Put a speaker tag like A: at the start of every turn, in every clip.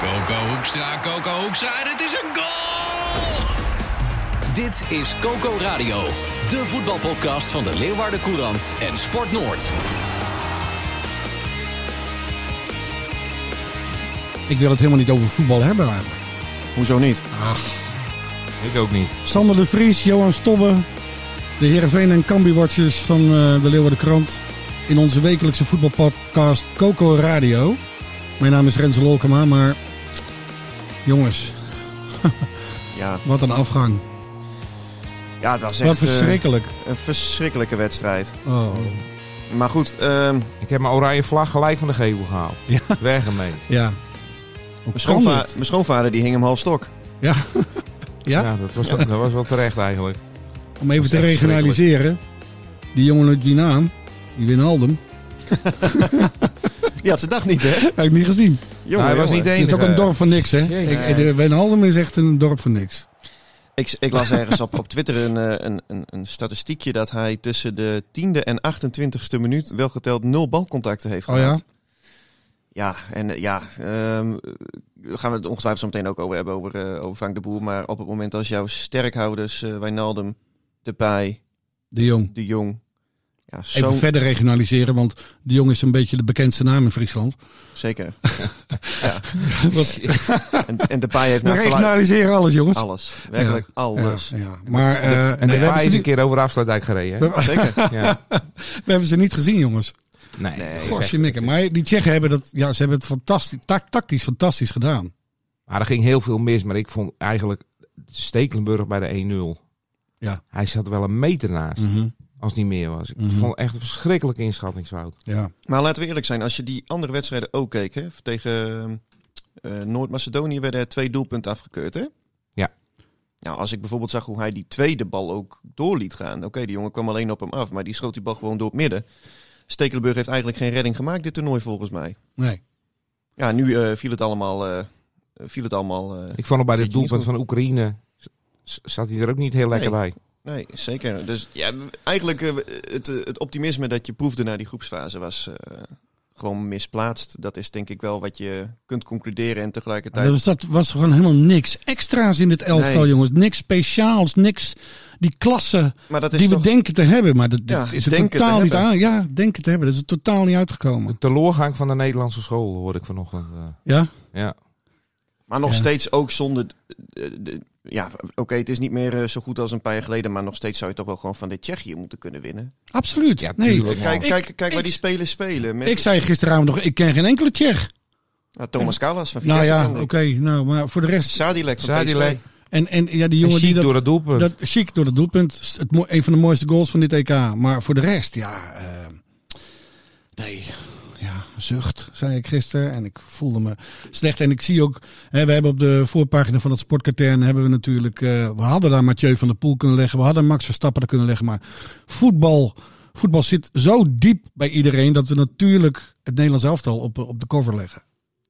A: Coco Hoekstra, Coco Hoekstra, en het is een goal!
B: Dit is Coco Radio, de voetbalpodcast van de Leeuwarden Courant en Sport Noord.
C: Ik wil het helemaal niet over voetbal hebben eigenlijk.
D: Hoezo niet?
E: Ik ook niet.
C: Sander de Vries, Johan Stobbe, de Heerenveen en Cambi-watchers van eh, de Leeuwarden Krant. In onze wekelijkse voetbalpodcast Coco Radio. Mijn naam is Renze Lolkema, maar jongens,
D: Ja,
C: wat een afgang.
D: ja het was echt
C: Wat
D: eh,
C: verschrikkelijk.
D: een verschrikkelijke wedstrijd.
C: Oh.
D: Maar goed, ehm
E: Ik heb mijn oranje vlag gelijk van de gevel gehaald.
C: Ja.
E: Weg ermee.
C: Ja. Hoe
D: mijn,
C: kan
D: schoonva-
C: dit?
D: mijn schoonvader die hing hem half stok.
C: Ja. ja?
E: Ja, dat, was, dat was wel terecht eigenlijk.
C: Om even
E: is
C: te
E: echt
C: regionaliseren. Die jongen uit die naam, die Wijnaldum,
D: Die had zijn dag niet, hè? Jongen,
C: heb ik niet gezien.
E: Nou, hij was niet de
C: Het is
E: enige.
C: ook een dorp van niks, hè?
E: Jee.
C: Ik- de Wijnaldum is echt een dorp van niks.
D: Ik, ik las ergens op, op Twitter een, eh, een, een, een statistiekje dat hij tussen de 10e en 28e minuut wel geteld nul balcontacten heeft
C: Oh
D: gehad.
C: ja?
D: Ja, en eh, ja, ehm, daar gaan we het ongetwijfeld zo meteen ook over hebben, over, eh, over Frank de Boer. Maar op het moment als jouw sterkhouders, eh Wijnaldum, Depay,
C: De Jong.
D: De Jong... Ja, zo,
C: Even verder regionaliseren, want de jong is een beetje de bekendste naam in Friesland.
D: Zeker.
C: Wat-
D: En, en Depay heeft
C: We
D: naar verluid-
C: regionaliseren alles, jongens.
D: Alles. Werkelijk
C: Ja,
D: alles.
C: ja. Maar eh,
E: En
C: nee,
E: de
C: we, hebben
E: paai
C: ze
E: is een
C: niet,
E: keer over de afsluitdijk gereden. hè?
D: Zeker.
E: Ja.
C: we hebben ze niet gezien, jongens.
E: Nee.
D: Nee.
E: dat is
C: Gosh,
E: echt-
C: je mikken. Maar die Tsjechen hebben dat, ja, ze hebben het fantastisch, ta- tactisch fantastisch gedaan.
E: Maar er ging heel veel mis. Maar ik vond eigenlijk Stekelenburg bij de 1-0.
C: Ja.
E: Hij zat wel een meter naast. Als het niet meer was. Ik
C: Mhm.
E: vond het echt een verschrikkelijke inschattingsfout.
C: Ja,
D: Maar laten we eerlijk zijn, als je die andere wedstrijden ook keek, hè, tegen eh, Noord-Macedonië werden er twee doelpunten afgekeurd, hè?
E: Ja.
D: Nou, als ik bijvoorbeeld zag hoe hij die tweede bal ook door liet gaan. Oké, die jongen kwam alleen op hem af, maar die schoot die bal gewoon door het midden. Stekelenburg heeft eigenlijk geen redding gemaakt dit toernooi volgens mij.
C: nee.
D: Ja, nu eh, viel het allemaal... eh, viel het allemaal eh,
E: Ik vond hem bij
D: Weet
E: het
D: je niet
E: doelpunt van Oekraïne. z- z- Zat hij er ook niet heel lekker
D: Nee.
E: bij.
D: Nee, zeker. Dus ja, eigenlijk eh, het, eh, het optimisme dat je proefde na die groepsfase was eh, gewoon misplaatst. Dat is denk ik wel wat je kunt concluderen en tegelijkertijd...
C: Dat was, dat was gewoon helemaal niks extra's in dit elftal,
D: Nee.
C: jongens. Niks speciaals, niks. Die klasse
D: maar dat is
C: die
D: toch...
C: we denken te hebben, maar dat, dat
D: Ja,
C: is het
D: denken te
C: totaal niet
D: hebben.
C: aan. Ja, denken te hebben. Dat is er totaal niet uitgekomen.
E: De teleurgang van de Nederlandse school hoorde ik vanochtend. eh.
C: Ja?
E: Ja.
D: Maar nog
C: Ja.
D: steeds ook zonder... eh, de- ja, oké, het is niet meer eh, zo goed als een paar jaar geleden, maar nog steeds zou je toch wel gewoon van de Tsjechië moeten kunnen winnen.
C: Absoluut.
E: Ja,
C: nee.
E: tuurlijk, man.
D: Kijk,
C: Ik-
D: kijk, kijk waar
C: ik-
D: die spelers spelen. Met
C: Ik zei gisteravond nog, ik ken geen enkele Tsjech.
D: nou, Thomas Kalas van
C: Nou
D: Vitesse
C: ja,
D: ken
C: oké.
D: ik.
C: nou, maar voor de rest
D: Sadilek van
E: Sadilek.
D: PSV.
C: En, en ja, die
E: En
C: jongen die
E: Chic
C: dat,
E: door het doelpunt.
C: dat chic door het doelpunt. Het, mo- een van de mooiste goals van dit EK. Maar voor de rest, ja. eh, nee. Ja, zucht, zei ik gisteren. En ik voelde me slecht. En ik zie ook, hè, we hebben op de voorpagina van het sportkatern hebben we natuurlijk. eh, we hadden daar Mathieu van der Poel kunnen leggen. We hadden Max Verstappen er kunnen leggen. Maar voetbal, voetbal zit zo diep bij iedereen. dat we natuurlijk het Nederlands elftal op, op de cover leggen.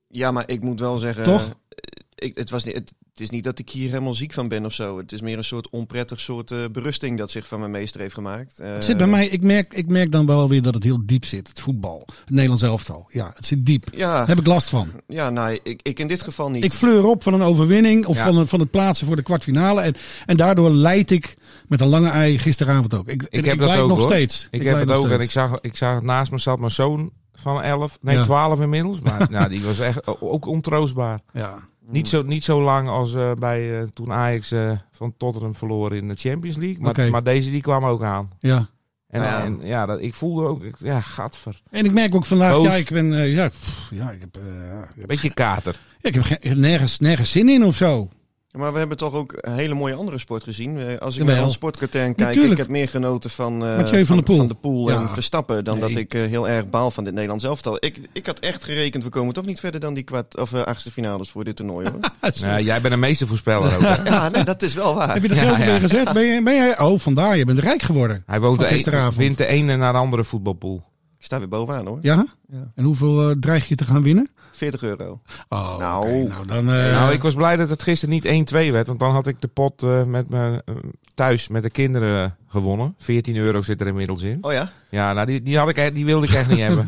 D: Ja, maar ik moet wel zeggen.
C: Toch?
D: eh, Ik, het, was niet, het, het is niet dat ik hier helemaal ziek van ben of zo. Het is meer een soort onprettig soort eh, berusting dat zich van mijn meester heeft gemaakt. Eh,
C: Het zit bij mij, ik merk, ik merk dan wel weer dat het heel diep zit. Het voetbal, het Nederlands elftal. Ja, het zit diep.
D: Ja,
C: Daar heb ik last van.
D: ja nou, ik, ik in dit geval niet.
C: Ik fleur op van een overwinning of
E: Ja.
C: van, een- van het plaatsen voor de kwartfinale. En, en daardoor leid ik met een lange ei gisteravond ook. Ik,
E: Ik heb dat
C: leid
E: ook,
C: nog
E: hoor.
C: steeds.
E: Ik, heb
C: leid
E: het
C: nog
E: ook en ik
C: steeds.
E: zag, ik zag naast me zat mijn zoon van 11, nee
C: Ja.
E: 12 inmiddels. Maar nou, die was echt o- ook ontroostbaar.
C: Ja.
E: Niet zo, niet zo lang als eh, bij eh, toen Ajax eh, van Tottenham verloor in de Champions League. Maar,
C: Oké.
E: maar deze die kwam ook aan.
C: Ja.
E: En
D: Ja.
E: ja, en, ja dat, ik voelde ook, ik- ja, gadver.
C: En ik merk ook vandaag,
E: Boos.
C: ja, ik ben, eh, ja, pff, ja, ik heb, eh, ja, ik heb,
E: Beetje kater.
C: ik heb ge- nergens, nergens zin in of zo.
D: Maar we hebben toch ook een hele mooie andere sport gezien. Eh, Als ik
C: Jawel.
D: naar Hans Sportkatern kijk,
C: Natuurlijk.
D: ik heb meer genoten van, eh,
C: Mathieu van der Poel.
D: Poel
C: Ja.
D: en Verstappen dan
C: Nee.
D: dat ik eh, heel erg baal van dit Nederlands elftal. Ik, ik had echt gerekend, we komen toch niet verder dan die kwart, of, eh, achtste finales voor dit toernooi. Hoor.
E: Nou, jij bent een meestervoorspeller ook. hè?
D: ja, nee, dat is wel waar.
C: Heb je er
E: Ja,
C: geld
E: ja.
C: mee gezet? Ben je, ben je, oh, vandaar, je bent rijk geworden.
E: Hij woont
C: Van
E: de een,
C: gisteravond.
E: wint de ene naar de andere voetbalpool.
D: Ik sta weer bovenaan hoor.
C: Ja?
D: Ja.
C: En hoeveel eh, dreig je te gaan winnen?
D: 40 euro.
C: Oh,
D: Nou.
C: oké, nou dan... eh,
E: Nou, ik was blij dat het gisteren niet 1-2 werd. Want dan had ik de pot eh, met me, eh, thuis met de kinderen eh, gewonnen. 14 euro zit er inmiddels in.
D: Oh ja?
E: Ja, nou, die, die, had ik, echt- die wilde ik echt niet hebben.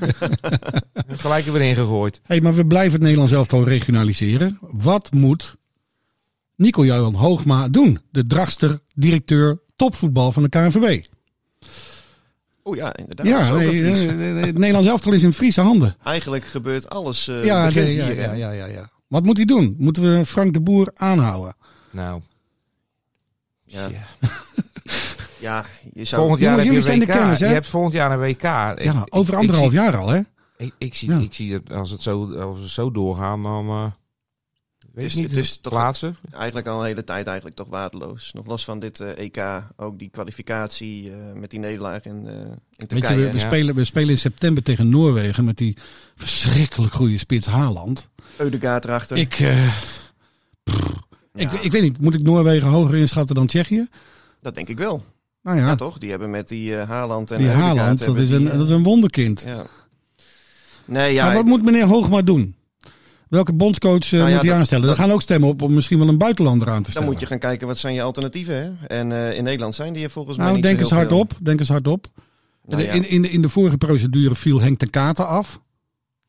E: Gelijk er weer ingegooid.
C: hey, maar we blijven het Nederlands elftal regionaliseren. Wat moet Nico-Johan Hoogma doen? De dragster, directeur, topvoetbal van de KNVB.
D: Oh ja, inderdaad. Dat is
C: Ja,
D: ook
C: nee,
D: een Fries.
C: eh, eh, het Nederlands elftal is in Friese handen.
D: Eigenlijk gebeurt alles eh
C: ja,
D: begint
C: nee, ja,
D: hier. hè?
C: ja, ja, ja, ja. Wat moet hij doen? Moeten we Frank de Boer aanhouden?
E: Nou,
D: Ja.
E: ja.
D: Ja, je zou...
C: Jongens,
E: volgend jaar heb je
C: jullie zijn
E: een
C: de
E: WK.
C: kenners, hè?
E: je hebt volgend jaar een WK. Ik-
C: Ja,
E: ik-
C: over
E: ik
C: anderhalf
E: zie-
C: jaar al, hè?
E: Ik, ik zie,
C: Ja.
E: ik zie dat als het zo, als het zo doorgaan, dan. eh weet
D: is-
E: je niet,
D: het is toch-
E: plaatsen.
D: Eigenlijk al een hele tijd eigenlijk toch waardeloos. Nog los van dit eh, EK, ook die kwalificatie eh, met die nederlaag in, eh, in
C: Weet je,
D: Turkije.
C: we, we
E: ja.
C: spelen, we spelen in september tegen Noorwegen met die verschrikkelijk goede spits Haaland.
D: Eudegaard erachter.
C: Ik, eh,
D: Ja,
C: ik, ik weet niet, moet ik Noorwegen hoger inschatten dan Tsjechië?
D: Dat denk ik wel.
C: Nou
D: Ja,
C: ja,
D: toch? Die hebben met die eh, Haaland en
C: die
D: Eudegaard
C: Haaland, dat
D: hebben
C: is, een,
D: die, eh,
C: dat is een wonderkind.
D: ja. Nee, ja.
C: maar wat
D: ik-
C: moet meneer Hoogma doen? Welke bondscoach eh,
D: Nou ja,
C: moet hij
D: dat-
C: aanstellen? Daar
D: dat-
C: gaan ook stemmen op om misschien wel een buitenlander aan te
D: dan
C: stellen.
D: moet je gaan kijken wat zijn je alternatieven. Hè? En eh, in Nederland zijn die er volgens mij
C: nou,
D: niet zo
C: denk eens
D: heel veel.
C: hardop. Denk eens hardop.
D: Nou ja.
C: in, in, in de vorige procedure viel Henk ten Katen af.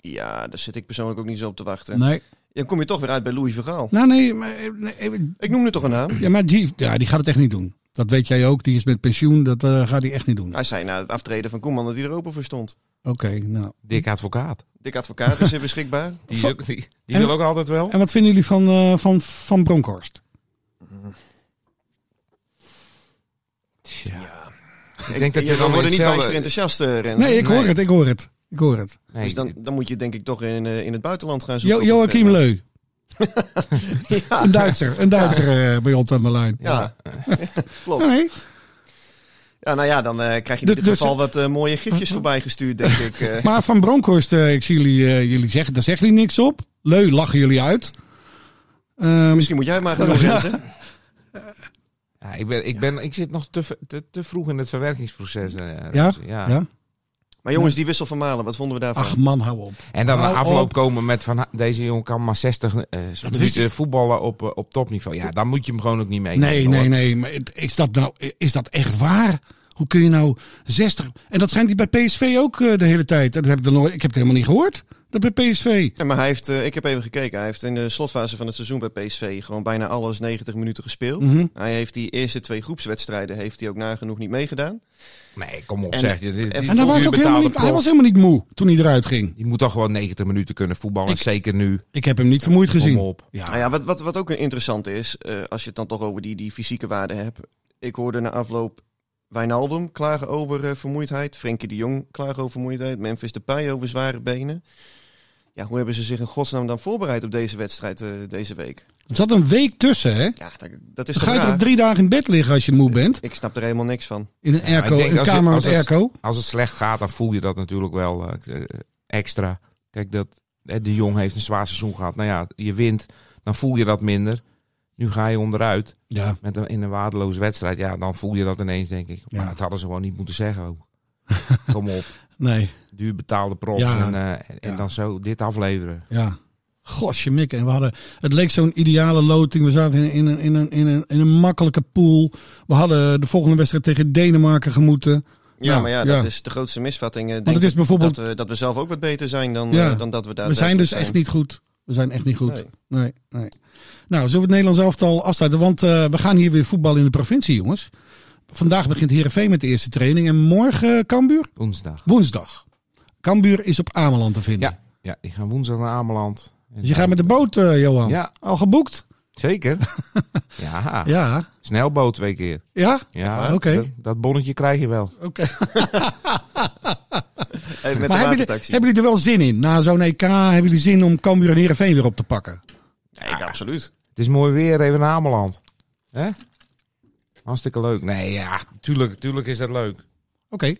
D: ja, daar zit ik persoonlijk ook niet zo op te wachten.
C: Nee.
D: Dan kom je toch weer uit bij Louis Vergaal.
C: Nou, nee, maar, eh, nee, eh,
D: Ik noem nu toch een naam.
C: ja, maar die, ja, die gaat het echt niet doen. Dat weet jij ook. Die is met pensioen. Dat eh, gaat hij echt niet doen. Oké,
D: Hij zei na het aftreden van Koeman dat hij er open voor stond.
C: nou.
E: Dick Advocaat.
D: Dik advocaat is er beschikbaar.
E: Die, is ook, die, die
C: En-
E: wil ook altijd wel.
C: En wat vinden jullie van, eh, van, van Bronkhorst?
E: ik denk dat je dan
D: we worden niet
E: hetzelfde-
D: bijster enthousiast, eh, Rens.
C: Nee, ik
E: Nee.
C: hoor het. Ik hoor het. Ik hoor het.
E: Nee,
D: dus dan, dan moet je denk ik toch in, eh, in het buitenland gaan zoeken.
C: Jo
D: op een
C: Joachim
D: plek.
C: Leu.
D: Ja.
C: Een Duitser. Een Duitser eh, bij ons aan de lijn.
D: Ja,
C: Nee,
D: klopt.
C: nee.
D: Ja, nou ja, dan eh, krijg je in
C: Dus-
D: dit
C: dus-
D: geval wat eh, mooie gifjes voorbij gestuurd, denk ik. eh.
C: Maar van Bronkhorst, eh, ik zie jullie, eh, jullie zeggen, daar zeggen jullie niks op. Leu lachen jullie uit. Ehm,
D: Misschien moet jij het maar gaan doen, Rens. hè?
E: ja, ik, ben, ik, ben, ik zit nog te, ver- te, te vroeg in het verwerkingsproces. eh,
C: ja?
E: Renze.
C: ja?
D: Maar jongens, die wissel van Malen, wat vonden we daarvan?
C: Ach man, hou op.
E: En dan na
C: Hou
E: afloop
C: Nou, op.
E: komen met van ha- deze jongen kan maar 60 eh, minuten voetballen op, eh, op topniveau. Ja, dan moet je hem gewoon ook niet mee.
C: Nee, nee, nee. Maar het- is dat nou, is dat echt waar? Hoe kun je nou 60... En dat schijnt hij bij PSV ook eh, de hele tijd. Dat heb ik, dan nooit, ik heb het helemaal niet gehoord. Dat bij PSV.
D: Ja, maar hij heeft, eh, ik heb even gekeken, hij heeft in de slotfase van het seizoen bij PSV gewoon bijna alles 90 minuten gespeeld.
C: Mhm.
D: Hij heeft die eerste twee groepswedstrijden heeft hij ook nagenoeg niet meegedaan.
E: Nee, kom op
D: En-
E: zeg. je. Dit-
D: en
E: dit
C: En hij was,
E: volgens
C: ook
E: u
C: helemaal
E: betaalde
C: niet, hij
E: prof.
C: was helemaal niet moe toen hij eruit ging.
E: Je moet toch gewoon 90 minuten kunnen voetballen.
C: Ik-
E: zeker nu.
C: Ik heb hem niet vermoeid gezien.
E: Kom op.
D: Nou ja, wat, wat, wat ook interessant is, eh, als je het dan toch over die, die fysieke waarde hebt. Ik hoorde na afloop Wijnaldum klagen over eh, vermoeidheid. Frenkie de Jong klagen over vermoeidheid. Memphis Depay over zware benen. Ja, hoe hebben ze zich in godsnaam dan voorbereid op deze wedstrijd eh, deze week?
C: Er zat een week tussen, hè?
D: Ja, dat, dat is
C: Dan ga
D: toch
C: je
D: raar?
C: toch drie dagen in bed liggen als je moe bent?
D: Ik snap er helemaal niks van.
C: In een
E: Ja,
C: airco,
E: ik denk
C: een
E: als het-
C: kamer
E: als
C: met
E: het-
C: airco?
E: Als het slecht gaat, dan voel je dat natuurlijk wel eh, eh, extra. Kijk, dat, eh, de Jong heeft een zwaar seizoen gehad. Nou ja, je wint, dan voel je dat minder. Nu ga je onderuit
C: Ja.
E: met een, in een waardeloze wedstrijd. Ja, dan voel je dat ineens, denk ik. Maar
C: Ja.
E: dat hadden ze gewoon niet moeten zeggen ook. Kom op,
C: Nee.
E: duur betaalde prof
C: Ja.
E: en, eh, en
C: Ja.
E: dan zo dit afleveren.
C: Ja. Gosje mikken. En we hadden, het leek zo'n ideale loting. We zaten in, in, een, in, een, in, een, in een makkelijke pool. We hadden de volgende wedstrijd tegen Denemarken gemoeten.
D: Ja,
C: Nou,
D: maar ja, dat
C: ja.
D: is de grootste misvatting. eh,
C: Want
D: denk
C: het is
D: ik,
C: bijvoorbeeld...
D: dat, we, dat we zelf ook wat beter zijn dan,
C: Ja.
D: eh, dan dat we daar
C: we zijn dus echt
D: daadwerkelijk
C: niet goed. We zijn echt niet goed. Nee,
D: Nee.
C: nee. Nou, zullen we het Nederlands elftal afsluiten? Want eh, we gaan hier weer voetballen in de provincie, jongens. Vandaag begint Heerenveen met de eerste training. En morgen eh, Cambuur?
E: Woensdag.
C: Woensdag. Cambuur is op Ameland te vinden.
E: Ja, ja ik ga woensdag naar Ameland. En
C: Dus je gaat
E: dan-
C: met de boot, eh, Johan?
E: Ja.
C: Al geboekt?
E: Zeker. ja,
C: Ja.
E: snelboot twee keer.
C: Ja?
E: Ja,
C: Ah, oké.
E: dat, dat bonnetje krijg je wel.
C: Oké.
D: zijn.
C: Maar
D: Even met de
C: hebben jullie,
D: watertaxi.
C: hebben E jullie er wel zin in? Na zo'n EK hebben jullie zin om Cambuur en Heerenveen weer op te pakken?
D: Ja, ik, absoluut.
E: Het is mooi weer, even naar Ameland. Hè? Hartstikke leuk. Nee, ja, tuurlijk, tuurlijk is dat leuk.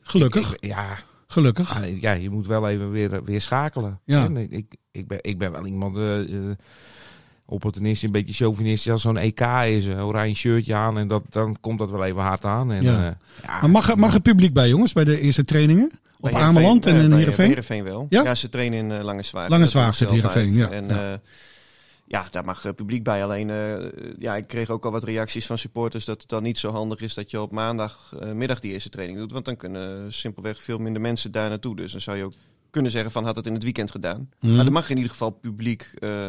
C: gelukkig.
E: Ik- ja,
C: Gelukkig.
E: alleen, ja, je moet wel even weer, weer schakelen.
C: Ja.
E: En Ik, ik, ik, ben, ik ben wel iemand, eh eh, opportunist, een beetje chauvinist. Als zo'n EK is, een oranje shirtje aan en dat, dan komt dat wel even hard aan. En,
C: Ja.
E: eh, ja,
C: Maar mag, er- mag het publiek bij, jongens bij de eerste trainingen? Op
D: Bij
C: Ameland en
D: eh,
C: in
D: bij- bij
C: Heerenveen?
D: Heerenveen wel.
C: Ja?
D: Ja? ze trainen in eh Langeswaard.
C: Langeswaard
D: Dat
C: zit
D: doen ze altijd.
C: Heerenveen, ja.
D: En,
C: Ja.
D: eh, ja, daar mag eh, publiek bij. Alleen, eh, ja, ik kreeg ook al wat reacties van supporters dat het dan niet zo handig is dat je op maandagmiddag die eerste training doet. Want dan kunnen simpelweg veel minder mensen daar naartoe. Dus dan zou je ook kunnen zeggen van had het in het weekend gedaan.
C: Hmm.
D: Maar er mag in ieder geval publiek eh,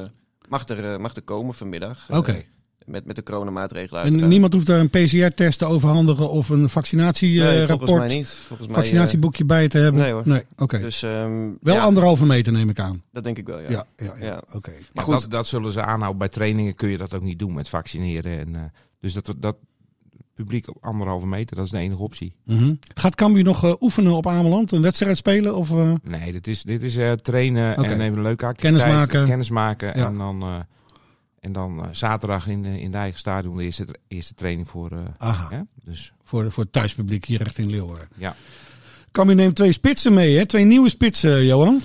D: mag er, eh, mag er komen vanmiddag.
C: Oké.
D: Eh, met, met de coronamaatregelen
C: En
D: uiteraard.
C: niemand hoeft daar een PCR-test te overhandigen of een eh,
D: Nee, volgens mij
C: vaccinatierapport,
D: niet. Volgens mij, eh,
C: vaccinatieboekje bij te hebben?
D: nee hoor.
C: oké.
D: dus, ehm,
C: Wel
D: ja,
C: anderhalve meter neem ik aan.
D: Dat denk ik wel,
C: Ja, ja, ja.
D: Ja.
C: oké.
E: Maar
D: goed.
E: Dat, dat zullen ze aanhouden. Bij trainingen kun je dat ook niet doen met vaccineren. En, eh, dus dat, dat publiek op anderhalve meter, dat is de enige optie.
C: Mhm. Gaat Cambuur nog eh, oefenen op Ameland? Een wedstrijd spelen? Of, eh,
E: Nee, dit is, dit is eh, trainen
C: Oké.
E: en even een leuke activiteit.
C: Kennismaken.
E: Kennismaken
C: Ja.
E: En dan, eh, en dan eh, zaterdag in, eh, in de eigen stadion de eerste, eerste training voor... eh,
C: aha,
E: hè? Dus
C: voor, voor het thuispubliek hier echt in Leeuwarden.
E: Ja.
C: Cambuur neemt twee spitsen mee, hè? Twee nieuwe spitsen, eh, Johan.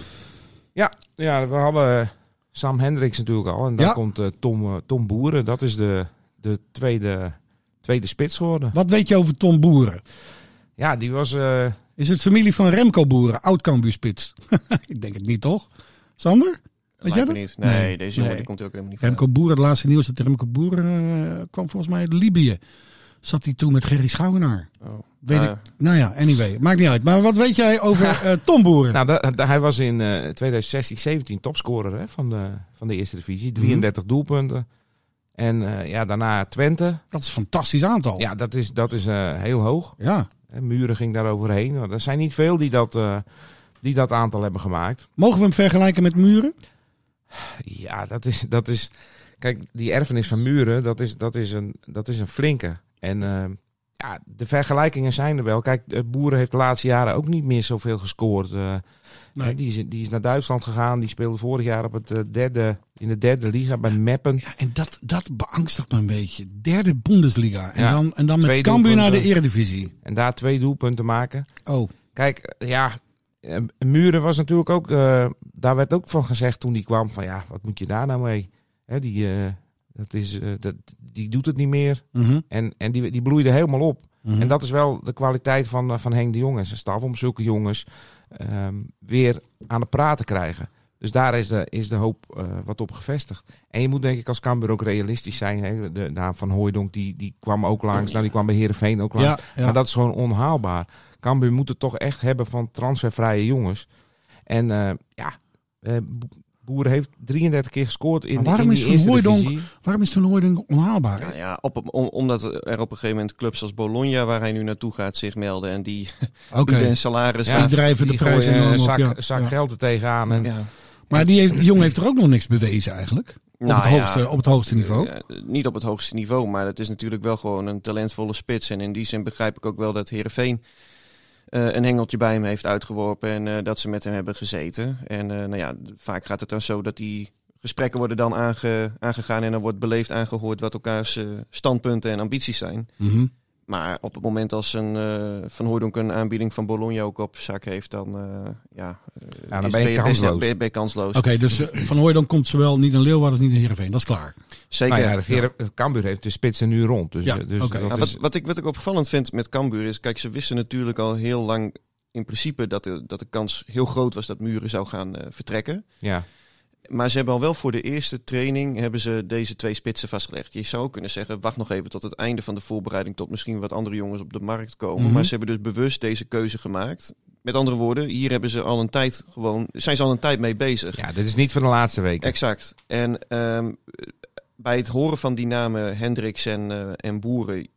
E: Ja, ja we hadden eh, Sam Hendricks natuurlijk al. En dan
C: Ja.
E: komt eh, Tom, eh, Tom Boeren. Dat is de, de tweede, tweede spits geworden.
C: Wat weet je over Tom Boeren?
E: Ja, die was... eh,
C: Is het familie van Remco Boeren, oud Cambuurspits? ik denk het niet, toch? Sander? Weet jij
D: Lijkt
C: dat?
D: me niet. Nee,
C: Nee.
D: deze jongen
C: Nee.
D: die komt er ook helemaal niet
C: Remco Boeren, het laatste nieuws dat Remco Boeren eh, kwam volgens mij uit Libië. Zat hij toen met Gerry Schouwenaar?
D: van. Oh.
C: Weet
E: eh.
D: Ah,
C: ik. Nou ja, anyway, maakt niet uit. Maar wat weet jij over eh, Tom Boeren?
E: nou, da- da- hij was in eh 2016, 17 topscorer hè, van, de, van de eerste divisie. 33 doelpunten. En eh, ja, daarna Twente.
C: dat is een fantastisch aantal.
E: Ja, dat is, dat is eh, heel hoog.
C: ja.
E: En Muren ging daar overheen. Nou, Er zijn niet veel die dat, eh, die dat aantal hebben gemaakt.
C: Mogen we hem vergelijken met muren?
E: Ja, dat is, dat is. Kijk, die erfenis van Muren, dat is, dat is, een, dat is een flinke. En eh, ja, de vergelijkingen zijn er wel. Kijk, eh, Boeren heeft de laatste jaren ook niet meer zoveel gescoord. eh.
C: Nee.
E: Eh, die, is, die is naar Duitsland gegaan. Die speelde vorig jaar op het eh, derde, in de derde liga bij Meppen.
C: Ja, en dat, dat beangstigt me een beetje. Derde Bundesliga. En
E: Ja. eh.
C: dan, en dan met
E: Twee
C: Cambuur naar de
E: doelpunten.
C: Eredivisie.
E: En daar twee doelpunten maken.
C: Oh,
E: Kijk, eh, ja, eh, Muren was natuurlijk ook... eh, daar werd ook van gezegd toen die kwam van... Ja, wat moet je daar nou mee? Hè, die, eh, dat is, eh, dat, die doet het niet meer.
C: mhm,
E: En, en die, die bloeide helemaal op.
C: mhm.
E: En dat is wel de kwaliteit van, eh, van Henk de Jong en zijn staf. Om zulke jongens ehm, weer aan het praten te krijgen. Dus daar is de, is de hoop eh, wat op gevestigd. En je moet denk ik als Cambuur ook realistisch zijn. Hè? De naam van Hooijdonk die, die kwam ook langs. Nou, die kwam bij Heerenveen ook langs.
C: ja, ja.
E: Maar dat is gewoon onhaalbaar. Cambuur moet het toch echt hebben van transfervrije jongens. En eh, ja, eh, Bo- Boer heeft 33 keer gescoord in,
C: Maar waarom
E: in
C: is
E: die
C: Van
E: eerste
C: Hooijdonk-
E: divisie.
C: Waarom is Van Hooydonk onhaalbaar?
D: Nou ja, op, om- omdat er op een gegeven moment clubs als Bologna, waar hij nu naartoe gaat, zich melden. En die
C: Oké,
D: bieden een salaris.
E: Ja,
D: aan.
C: die drijven de
E: Die
C: prijs
E: gooien
C: enorm
E: een
C: op.
E: zak,
C: ja.
E: zak
C: Ja.
E: geld er tegenaan. En,
D: Ja.
C: Maar die, heeft, die jongen heeft er ook nog niks bewezen eigenlijk.
D: Nou
C: op, het
D: ja,
C: hoogste, op het hoogste niveau.
D: eh, eh, niet op het hoogste niveau, maar het is natuurlijk wel gewoon een talentvolle spits. En in die zin begrijp ik ook wel dat Herenveen een hengeltje bij hem heeft uitgeworpen. En eh, dat ze met hem hebben gezeten. En eh, nou ja, d- vaak gaat het dan zo dat die gesprekken worden dan aange- aangegaan. En dan wordt beleefd aangehoord wat elkaars eh, standpunten en ambities zijn.
C: Mhm.
D: Maar op het moment als een eh, Van Hooydonk een aanbieding van Bologna ook op zak heeft, dan, eh, ja, eh,
E: dan
D: is-
E: ben je
D: best-
E: kansloos.
D: ben je- ben je kansloos.
C: Oké, dus eh, Van Hooydonk komt zowel niet in Leeuwarden als niet in Heerenveen. Dat is klaar.
D: Zeker.
E: nou ja, de Gere- Cambuur heeft de spitsen nu rond. Dus,
C: Ja,
E: eh, dus
C: oké.
E: dat
D: Nou,
E: is,
D: wat, wat, ik, wat ik opvallend vind met Cambuur is, kijk, ze wisten natuurlijk al heel lang in principe dat de, dat de kans heel groot was dat Muren zou gaan eh, vertrekken.
E: ja.
D: Maar ze hebben al wel voor de eerste training hebben ze deze twee spitsen vastgelegd. Je zou kunnen zeggen, wacht nog even tot het einde van de voorbereiding, tot misschien wat andere jongens op de markt komen.
C: Mhm.
D: Maar ze hebben dus bewust deze keuze gemaakt. Met andere woorden, hier hebben ze al een tijd gewoon, zijn ze al een tijd mee bezig.
E: ja, dit is niet van de laatste week.
D: Exact. En ehm, bij het horen van die namen Hendricks en, eh, en Boeren,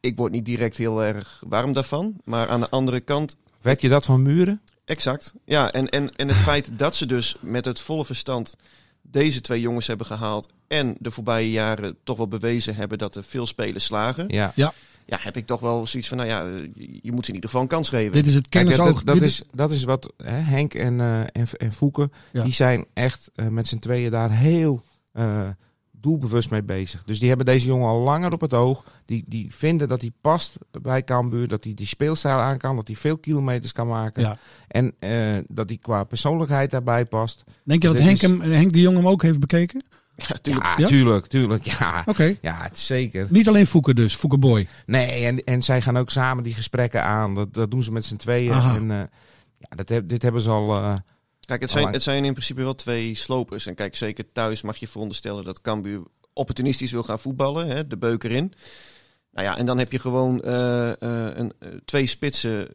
D: ik word niet direct heel erg warm daarvan. Maar aan de andere kant,
E: Werd je dat van Muren?
D: exact. Ja, en, en, en het feit dat ze dus met het volle verstand deze twee jongens hebben gehaald. En de voorbije jaren toch wel bewezen hebben dat er veel spelers slagen. Ja,
E: Ja.
D: heb ik toch wel zoiets van, nou ja, je- je moet ze in ieder geval een kans geven.
C: Dit is het
E: Kijk, dat,
C: kennisoog.
E: dat, dat
C: dit
E: is, dat is wat hè, Henk en, eh en, en Fouke,
C: Ja.
E: die zijn echt eh, met z'n tweeën daar heel eh, doelbewust mee bezig. Dus die hebben deze jongen al langer op het oog. Die, die vinden dat hij past bij Cambuur. Dat hij die speelstijl aan kan. Dat hij veel kilometers kan maken.
C: Ja.
E: En eh, dat hij qua persoonlijkheid daarbij past.
C: Denk je dat
E: Dit
C: Henk,
E: is-
C: hem, Henk de Jong hem ook heeft bekeken?
D: Ja, tuurlijk.
E: Ja,
C: Ja?
E: tuurlijk, tuurlijk. Ja,
C: Oké.
E: ja het- zeker.
C: Niet alleen Fokker dus, Fokker Boy.
E: Nee, en, en zij gaan ook samen die gesprekken aan. Dat, dat doen ze met z'n tweeën.
C: Aha.
E: En, eh, ja, dat heb, dit hebben ze al... eh,
D: Kijk, het
E: Allang.
D: zijn, het zijn in principe wel twee slopers. En kijk, zeker thuis mag je veronderstellen dat Cambuur opportunistisch wil gaan voetballen. Hè, de beuker in. Nou ja, en dan heb je gewoon eh, eh, een, eh, twee spitsen.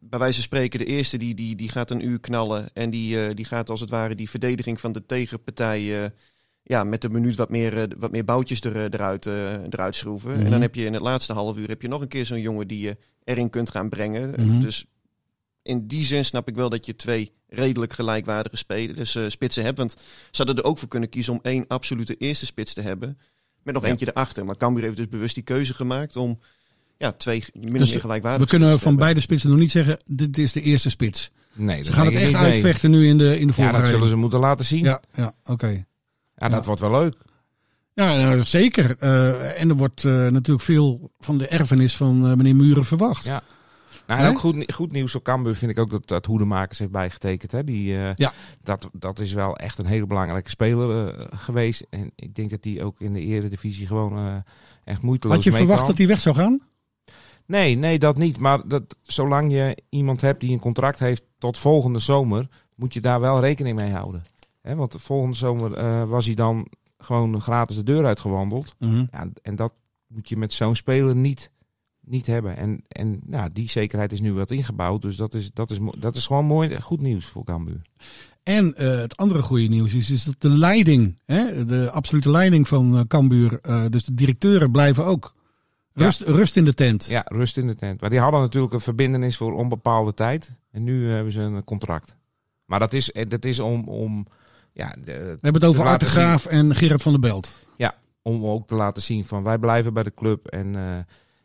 D: Bij wijze van spreken, de eerste die, die, die gaat een uur knallen. En die, eh, die gaat als het ware die verdediging van de tegenpartij... eh, ja, met de minuut wat meer, eh, wat meer boutjes er, eh, eruit, eh, eruit schroeven.
C: Mhm.
D: En dan heb je in het laatste half uur heb je nog een keer zo'n jongen die eh, je erin kunt gaan brengen.
C: Mhm.
D: Dus in die zin snap ik wel dat je twee redelijk gelijkwaardige spelers, eh, spitsen hebt. Want ze hadden er ook voor kunnen kiezen om één absolute eerste spits te hebben. Met nog eentje erachter. Maar Cambuur heeft dus bewust die keuze gemaakt om ja, twee min of
C: Dus
D: meer
C: We
D: gelijkwaardige
C: kunnen
D: spitsen
C: van
D: te hebben.
C: beide spitsen nog niet zeggen, dit is de eerste spits.
E: nee, dat
C: Ze gaan het
E: denk ik
C: echt
E: niet, nee.
C: uitvechten nu in de, in de
E: Ja, dat
C: voorbereiding.
E: zullen ze moeten laten zien. Ja,
C: Ja, ja oké.
E: dat
C: Ja.
E: wordt wel leuk.
C: Ja, nou, zeker. Eh, en er wordt eh, natuurlijk veel van de erfenis van eh, meneer Muren verwacht.
E: Ja. Nou, en
C: Hè?
E: ook goed, nie- goed nieuws op Cambuur vind ik ook dat, dat Hoedemakers heeft bijgetekend. Hè? Die, eh,
C: Ja.
E: dat, dat is wel echt een hele belangrijke speler eh, geweest. En ik denk dat die ook in de eredivisie gewoon eh, echt moeiteloos
C: Had je
E: mee
C: verwacht
E: kan.
C: dat hij weg zou gaan?
E: Nee, nee, dat niet. Maar dat, zolang je iemand hebt die een contract heeft tot volgende zomer, moet je daar wel rekening mee houden. Hè? Want volgende zomer eh, was hij dan gewoon gratis de deur uitgewandeld. Ja, en dat moet je met zo'n speler niet, niet hebben. En, en nou, die zekerheid is nu wat ingebouwd. Dus dat is, dat is, mo- dat is gewoon mooi, goed nieuws voor Cambuur.
C: En eh, het andere goede nieuws is, is dat de leiding, hè, de absolute leiding van eh, Cambuur, eh, dus de directeuren blijven ook.
E: Ja.
C: Rust, rust in de tent.
E: Ja, rust in de tent. Maar die hadden natuurlijk een verbindenis voor onbepaalde tijd. En nu eh, hebben ze een contract. Maar dat is, eh, dat is om, om, ja, de-
C: We hebben het over
E: Te
C: Art de
E: laten
C: Graaf en Gerard van der Belt.
E: om ook te laten zien van wij blijven bij de club. En, eh,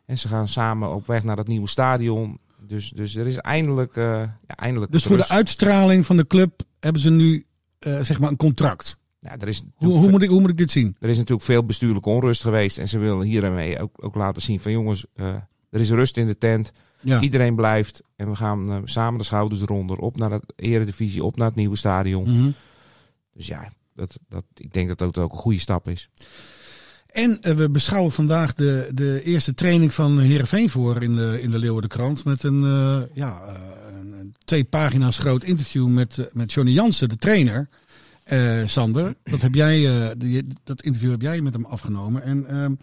E: en ze gaan samen op weg naar dat nieuwe stadion. Dus, dus er is eindelijk, eh, ja, eindelijk
C: Dus voor de
E: rust.
C: uitstraling van de club hebben ze nu eh, zeg maar een contract.
E: Ja, er is
C: Hoe, hoe, moet, ik, hoe moet ik dit zien?
E: Er is natuurlijk veel bestuurlijke onrust geweest. En ze willen hiermee ook, ook laten zien van jongens, eh, er is rust in de tent.
C: Ja.
E: Iedereen blijft. En we gaan eh, samen de schouders eronder. Op naar het eredivisie, op naar het nieuwe stadion.
C: Mhm.
E: Dus ja, dat, dat, ik denk dat dat ook een goede stap is.
C: En eh, we beschouwen vandaag de, de eerste training van Heerenveen voor in de, in de Leeuwardenkrant. Met een, eh, ja, eh, een- een twee pagina's groot interview met, eh, met Johnny Jansen, de trainer. Eh, Sander, dat, heb jij, eh, die- dat interview heb jij met hem afgenomen. En ehm,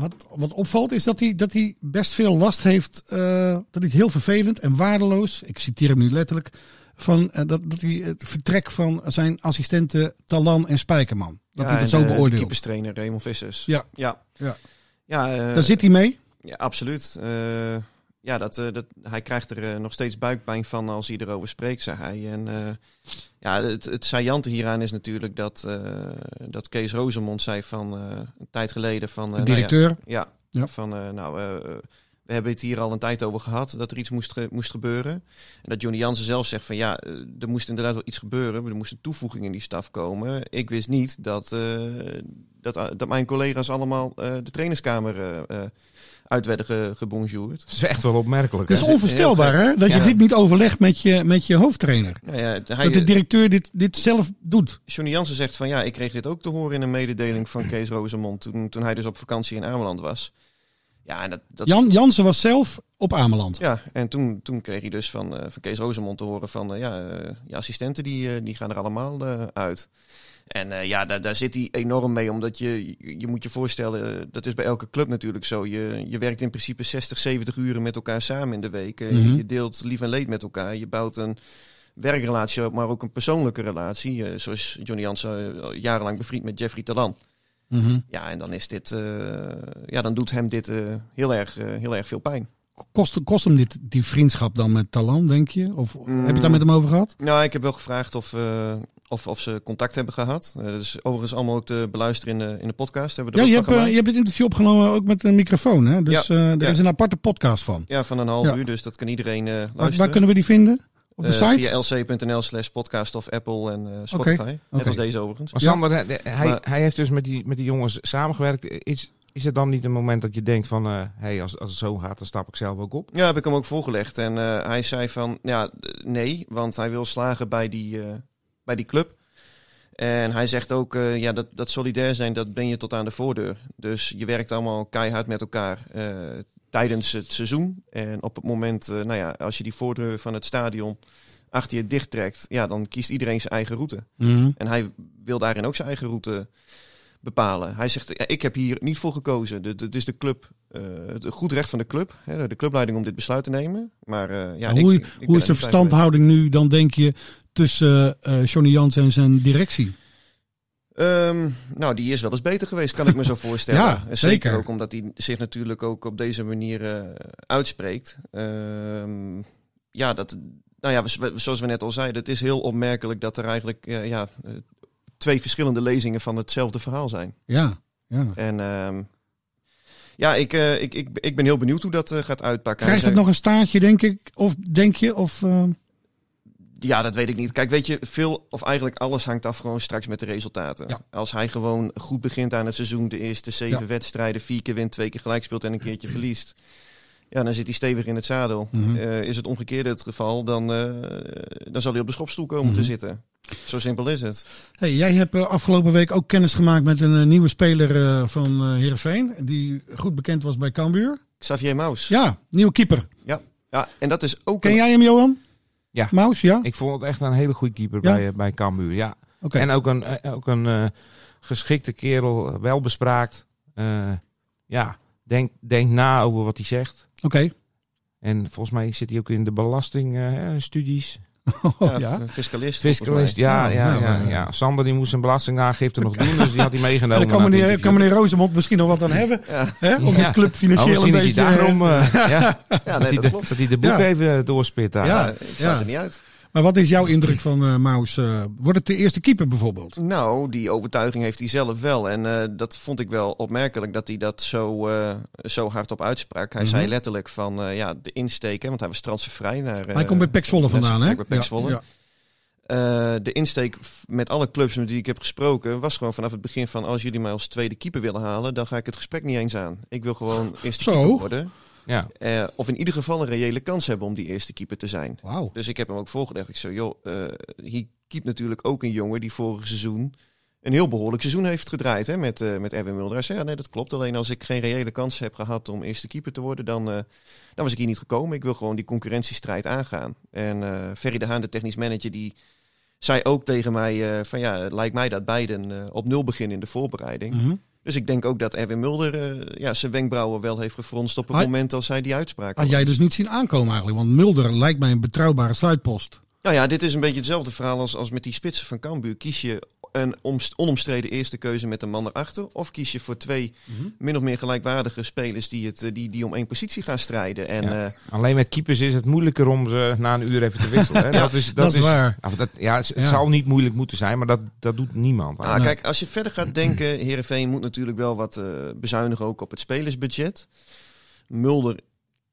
C: wat, wat opvalt is dat hij, dat hij best veel last heeft. eh, dat hij het heel vervelend en waardeloos, ik citeer hem nu letterlijk. Van, eh, dat, dat hij het vertrek van zijn assistenten Talan en Spijkerman. Dat
D: Ja,
C: hij dat
D: en eh,
C: zo
D: de- de
C: beoordeelt.
D: keeperstrainer Raymond Vissers.
C: Ja.
D: Ja.
C: Ja.
D: Ja, eh,
C: Daar zit hij mee.
D: ja, absoluut. Eh, ja, dat, eh, dat, hij krijgt er eh, nog steeds buikpijn van als hij erover spreekt, zei hij. En eh, ja, het, het saillante hieraan is natuurlijk dat, eh, dat Kees Rozemond zei van eh, een tijd geleden van... eh,
C: De
D: nou ja,
C: directeur.
D: Ja,
C: Ja.
D: van eh, nou, eh, we hebben het hier al een tijd over gehad dat er iets moest, ge- moest gebeuren. En dat Johnny Jansen zelf zegt van ja, eh, er moest inderdaad wel iets gebeuren. Er moest een toevoeging in die staf komen. Ik wist niet dat, eh, dat, eh, dat mijn collega's allemaal eh, de trainerskamer eh, eh, uit werden ge, gebonjourd.
E: Dat is echt wel opmerkelijk.
C: Dat is
E: hè?
D: Ja,
C: onvoorstelbaar,
D: heel
C: hè? Dat je
D: Ja.
C: dit niet overlegt met je, met je hoofdtrainer.
D: Nou ja, hij,
C: Dat de directeur dit, dit zelf doet.
D: Johnny Jansen zegt van ja, ik kreeg dit ook te horen in een mededeling van Kees Rozemond toen, toen hij dus op vakantie in Ameland was. Ja, en dat, dat
C: Jan, Jansen was zelf op Ameland.
D: Ja, en toen, toen kreeg hij dus van, eh, van Kees Rozemond te horen van... eh, ja, eh, je assistenten die, eh, die gaan er allemaal eh, uit. En eh, ja, daar, daar zit hij enorm mee. Omdat je, je moet je voorstellen, eh, dat is bij elke club natuurlijk zo. Je, je werkt in principe 60, 70 uren met elkaar samen in de week. Eh,
C: Mhm.
D: Je deelt lief en leed met elkaar. Je bouwt een werkrelatie, op, maar ook een persoonlijke relatie. Eh, zoals Johnny Jansen eh, jarenlang bevriend met Jeffrey Talan.
C: Mhm.
D: Ja, en dan is dit... eh, ja, dan doet hem dit eh, heel, erg, eh, heel erg veel pijn.
C: Kost, kost hem dit, die vriendschap dan met Talan, denk je? Of
D: Mm.
C: heb je het daar met hem over gehad?
D: Nou, ik heb wel gevraagd of, eh, of, of ze contact hebben gehad. Eh, dat is overigens allemaal ook te beluisteren in de, in de podcast. Hebben we
C: Ja,
D: er
C: je
D: ook
C: hebt,
D: van
C: eh, je hebt
D: gemaakt.
C: het interview opgenomen ook met een microfoon, hè? Dus eh er
D: ja.
C: is een aparte podcast van.
D: Ja, van een half
C: Ja.
D: uur, dus dat kan iedereen eh,
C: Waar,
D: luisteren.
C: waar kunnen we die vinden? Op de
D: Eh,
C: site?
D: Via lc.nl slash podcast of Apple en eh, Spotify.
C: oké.
D: Net als deze overigens.
E: Maar
C: Ja.
E: Sander, hij- hij,
D: Maar-
E: hij heeft dus met die, met die jongens samengewerkt. Is, is er dan niet een moment dat je denkt van... eh hey, als, als het zo gaat, dan stap ik zelf ook op?
D: Ja, heb ik hem ook voorgelegd. En eh, hij zei van, ja, eh, nee, want hij wil slagen bij die, eh, bij die club. En hij zegt ook, eh, ja, dat, dat solidair zijn, dat ben je tot aan de voordeur. Dus je werkt allemaal keihard met elkaar eh, tijdens het seizoen. En op het moment, eh, nou ja, als je die voordeur van het stadion achter je dicht trekt, ja, dan kiest iedereen zijn eigen route.
C: Mhm.
D: En hij wil daarin ook zijn eigen route bepalen. Hij zegt, ja, ik heb hier niet voor gekozen. De- de- Het is de club, eh, het goed recht van de club, hè, de clubleiding om dit besluit te nemen. Maar eh, ja,
C: Maar hoe
D: ik- ik
C: Hoe is
D: ben er
C: de
D: niet bij geweest.
C: verstandhouding nu dan, denk je, tussen eh, Johnny Jansen en zijn directie?
D: Ehm, nou, die is wel eens beter geweest, kan ik me zo voorstellen.
C: Ja,
D: En
C: zeker.
D: ook omdat hij zich natuurlijk ook op deze manier eh, uitspreekt. Ehm, ja, dat, nou ja, we- we- zoals we net al zeiden, het is heel opmerkelijk dat er eigenlijk eh, ja, eh, twee verschillende lezingen van hetzelfde verhaal zijn.
C: Ja, ja.
D: En ehm, ja, ik, eh, ik, ik, ik ben heel benieuwd hoe dat eh, gaat uitpakken.
C: Krijgt
D: Hij
C: het
D: zei-
C: nog een staartje, denk ik? Of denk je? Of, eh,
D: Ja, dat weet ik niet. Kijk, weet je, veel of eigenlijk alles hangt af gewoon straks met de resultaten.
C: Ja.
D: Als hij gewoon goed begint aan het seizoen, de eerste zeven
C: Ja.
D: wedstrijden, vier keer wint, twee keer gelijk speelt en een keertje verliest. Ja, dan zit hij stevig in het zadel.
C: Mhm.
D: Eh, is het omgekeerde het geval, dan, eh, dan zal hij op de schopstoel komen
C: Mhm.
D: te zitten. Zo simpel is het.
C: hey, jij hebt eh, afgelopen week ook kennis gemaakt met een eh, nieuwe speler eh, van eh Heerenveen. Die goed bekend was bij Cambuur.
D: Xavier Maus. Ja.
C: Ja, nieuwe keeper.
D: en dat is ook
C: Ken
D: een-
C: jij hem, Johan?
E: Ja.
C: Maus, ja? Oké.
E: Ik vond het echt een hele goede keeper
C: Ja?
E: bij, eh, bij Cambuur, ja. En ook een, eh, ook een eh, geschikte kerel, eh, welbespraakt. Eh, ja, denk, denk na over wat hij zegt.
C: Oké.
E: En volgens mij zit hij ook in de eh, belastingstudies.
D: ja,
C: Oh, ja.
D: een eh, fiscalist. volgens
E: Fiscalist,
D: mij.
E: ja,
C: Ja,
E: ja,
C: nou,
E: ja,
C: eh.
E: ja. Sander die moest zijn belastingaangifte nog doen, dus die had hij
C: En
E: meegenomen.
C: daar kan
E: naar het
C: meneer,
E: interview.
C: kan meneer Rosemond misschien nog wat aan hebben.
D: Ja.
C: Hè? Om de
E: Ja.
C: club
E: Oh,
C: financieel een
E: misschien is hij
C: beetje...
E: daarom eh, ja,
D: Ja,
E: dat,
D: nee,
E: hij
D: dat
E: de,
D: klopt.
E: dat hij de boek
C: Ja.
E: even eh, doorspit daar.
C: Ja.
D: Ja, ik sta
C: Ja.
D: er niet uit.
C: Maar wat is jouw indruk van eh Maus? eh, wordt het de eerste keeper bijvoorbeeld?
D: Nou, die overtuiging heeft hij zelf wel. En eh, dat vond ik wel opmerkelijk dat hij dat zo, eh, zo hard op uitsprak. Hij
C: Mhm.
D: zei letterlijk van eh, ja, de insteek, hè, want hij was transfervrij naar. eh,
C: Hij komt bij Pek Zwolle vandaan, hè?
D: Bij Pek Zwolle.
C: Ja,
D: Eh, de insteek f- met alle clubs met die ik heb gesproken was gewoon vanaf het begin van als jullie mij als tweede keeper willen halen, dan ga ik het gesprek niet eens aan. Ik wil gewoon eerste
C: Zo.
D: keeper worden.
E: Ja.
D: Eh, of in ieder geval een reële kans hebben om die eerste keeper te zijn.
C: Wauw.
D: Dus ik heb hem ook voorgelegd. Ik zei, joh, eh hier keept natuurlijk ook een jongen die vorig seizoen een heel behoorlijk seizoen heeft gedraaid hè, met, eh, met Erwin Mulder. Hij zei, ja, nee, dat klopt. Alleen als ik geen reële kans heb gehad om eerste keeper te worden, dan, eh, dan was ik hier niet gekomen. Ik wil gewoon die concurrentiestrijd aangaan. En eh Ferry de Haan, de technisch manager, die zei ook tegen mij eh, van ja, het lijkt mij dat beiden eh, op nul beginnen in de voorbereiding.
C: Mhm.
D: Dus ik denk ook dat Erwin Mulder eh, ja, zijn wenkbrauwen wel heeft gefronst op het
C: Hij-
D: moment als hij die uitspraak
C: Had
D: hoorde.
C: jij dus niet zien aankomen eigenlijk? Want Mulder lijkt mij een betrouwbare sluitpost.
D: Nou ja, dit is een beetje hetzelfde verhaal als, als met die spitsen van Cambuur. Kies je een omst- onomstreden eerste keuze met een man erachter? Of kies je voor twee min of meer gelijkwaardige spelers die, het, eh, die, die om één positie gaan strijden? En
E: Ja.
D: eh,
E: Alleen met keepers is het moeilijker om ze na een uur even te wisselen. Hè? dat is, dat
C: dat is waar.
E: Of dat, ja, het, het
C: Ja.
E: zal niet moeilijk moeten zijn, maar dat, dat doet niemand.
D: ah, kijk, als je verder gaat denken, Herenveen moet natuurlijk wel wat eh, bezuinigen ook op het spelersbudget. Mulder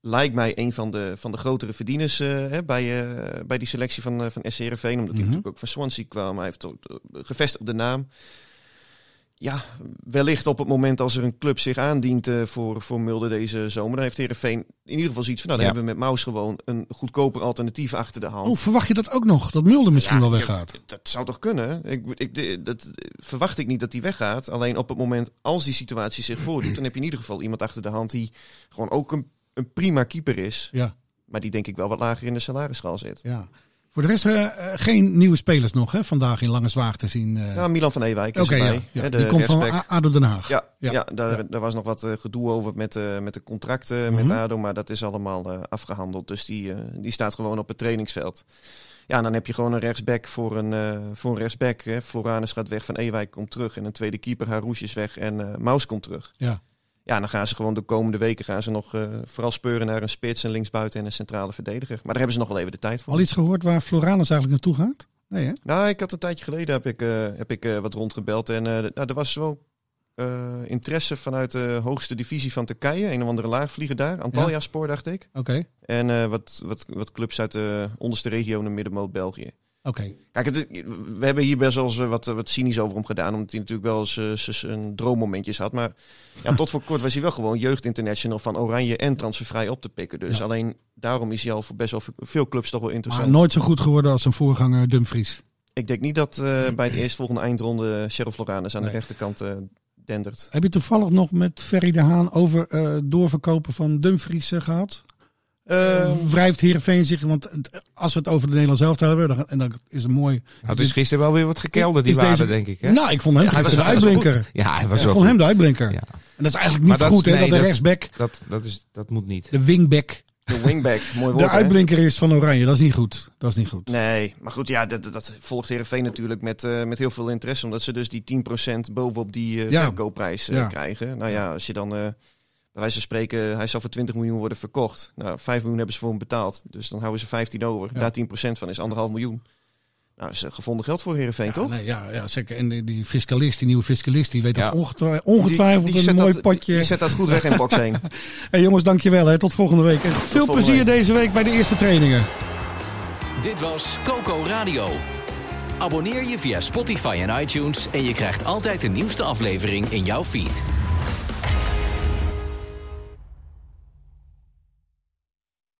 D: lijkt mij een van de, van de grotere verdieners eh, hè, bij, eh, bij die selectie van, eh, van SC Heerenveen. Omdat
C: Mhm.
D: hij natuurlijk ook van Swansea kwam. Hij heeft ook, eh, gevestigde naam. Ja, wellicht op het moment als er een club zich aandient eh, voor, voor Mulder deze zomer. Dan heeft Heerenveen in ieder geval zoiets van... Nou, dan
E: Ja.
D: hebben we met Maus gewoon een goedkoper alternatief achter de hand.
C: Oh, verwacht je dat ook nog? Dat Mulder misschien
D: Ja,
C: wel
D: ik-
C: weggaat?
D: Dat zou toch kunnen? Ik, ik, dat verwacht ik niet dat die weggaat. Alleen op het moment als die situatie zich voordoet, dan heb je in ieder geval iemand achter de hand die gewoon ook een, een prima keeper is.
C: Ja.
D: Maar die denk ik wel wat lager in de salarisschaal zit.
C: Ja. Voor de rest eh, eh, geen nieuwe spelers nog hè? vandaag in Lange Zwaag te zien. eh.
D: Ja, Milan van Ewijk Nou, is
C: Oké,
D: erbij.
C: ja, ja.
D: Hè, de
C: die komt van
D: rechtsback.
C: A- ADO Den Haag.
D: Ja,
C: Ja,
D: ja, daar,
C: ja.
D: daar was nog wat eh, gedoe over met, eh, met de
C: Mhm.
D: contracten met ADO, maar dat is allemaal eh, afgehandeld. Dus die, eh, die staat gewoon op het trainingsveld. Ja, en dan heb je gewoon een rechtsback voor een, eh, voor een rechtsback. Hè. Floranus gaat weg, Van Ewijk komt terug. En een tweede keeper, Harouche is weg en eh Maus komt terug.
C: Ja.
D: Ja, en dan gaan ze gewoon de komende weken gaan ze nog eh, vooral speuren naar een spits, een linksbuiten en een centrale verdediger. Maar daar hebben ze nog wel even de tijd voor.
C: Al iets gehoord waar Floranus eigenlijk naartoe gaat? Nee hè?
D: Nou, ik had een tijdje geleden heb ik, eh, heb ik eh, wat rondgebeld en eh, nou, er was wel eh, interesse vanuit de hoogste divisie van Turkije. Een of andere laagvlieger daar. Antalya Spoor, dacht ik.
C: Oké,
D: En eh, wat, wat, wat clubs uit de onderste regionen, middenmoot België.
C: oké.
D: Kijk, het, is- we hebben hier best wel eens eh, wat, wat cynisch over hem gedaan. Omdat hij natuurlijk wel eens eh, zes- een droommomentjes had. Maar ja, tot voor kort was hij wel gewoon jeugdinternational van Oranje en transfervrij op te pikken. Dus
C: Ja.
D: alleen daarom is hij al voor best wel veel clubs toch wel
C: Maar
D: interessant.
C: nooit zo goed geworden als zijn voorganger Dumfries.
D: Ik denk niet dat eh, bij de eerstvolgende eindronde Cheryl Floranus aan
C: Nee.
D: de rechterkant eh, dendert.
C: Heb je toevallig nog met Ferry de Haan over eh, doorverkopen van Dumfries eh, gehad?
D: Eh,
C: wrijft Heerenveen zich, want het- eh, als we het over de Nederlands helft hebben, dan, en dan is het mooi.
E: Nou, het is gisteren wel weer wat gekelderd, die
C: Is
E: waarde,
C: deze-
E: denk ik. Hè?
C: Nou, ik vond hem
D: hij was
C: gisteren de
D: wel- hij was wel
C: uitblinker.
E: ja, hij
C: Ja,
E: was
C: ik
E: wel
C: vond hem
E: goed.
C: de uitblinker.
E: Ja.
C: En dat is eigenlijk niet
E: Maar dat
C: goed,
E: is-
C: hè, dat
E: nee,
C: de
E: dat-
C: rechtsback,
E: Dat, dat, is, dat moet niet.
C: de wingback,
D: de wingback, mooi woord.
C: de
D: hè?
C: uitblinker is van Oranje. Dat is niet goed. Dat is niet goed.
D: Nee, maar goed, ja, dat, dat- dat volgt Heerenveen natuurlijk met, eh, met heel veel interesse. Omdat ze dus die 10% bovenop die eh
C: Ja.
D: verkoopprijs eh,
C: Ja.
D: krijgen. Nou ja, als je dan, eh bij wijze van spreken, hij zal voor 20 miljoen worden verkocht. Nou, 5 miljoen hebben ze voor hem betaald. Dus dan houden ze 15 over.
C: Ja.
D: Daar 10% van is 1,5 miljoen. Nou, dat is eh, gevonden geld voor Heerenveen,
C: Ja,
D: toch?
C: nee, ja, ja, zeker. En die, die fiscalist, die nieuwe fiscalist, die weet
E: Ja.
C: dat ongetwij- ongetwijfeld
D: Die- die
C: een
D: zet
C: mooi
D: dat,
C: potje.
D: Die zet dat goed weg in box 1.
C: Hey, jongens, dankjewel. Hè. Tot volgende week. En veel
D: volgende
C: plezier
D: week.
C: deze week bij de eerste trainingen.
B: Dit was Coco Radio. Abonneer je via Spotify en iTunes en je krijgt altijd de nieuwste aflevering in jouw feed.